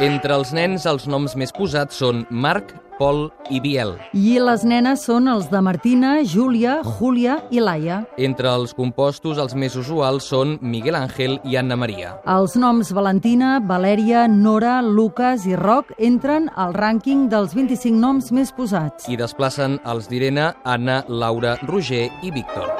Entre els nens, els noms més posats són Marc, Pol i Biel. I les nenes són els de Martina, Júlia, Júlia i Laia. Entre els compostos, els més usuals són Miguel Ángel i Anna Maria. Els noms Valentina, Valèria, Nora, Lucas i Roc entren al rànquing dels 25 noms més posats. I desplacen els d'Irene, Anna, Laura, Roger i Víctor.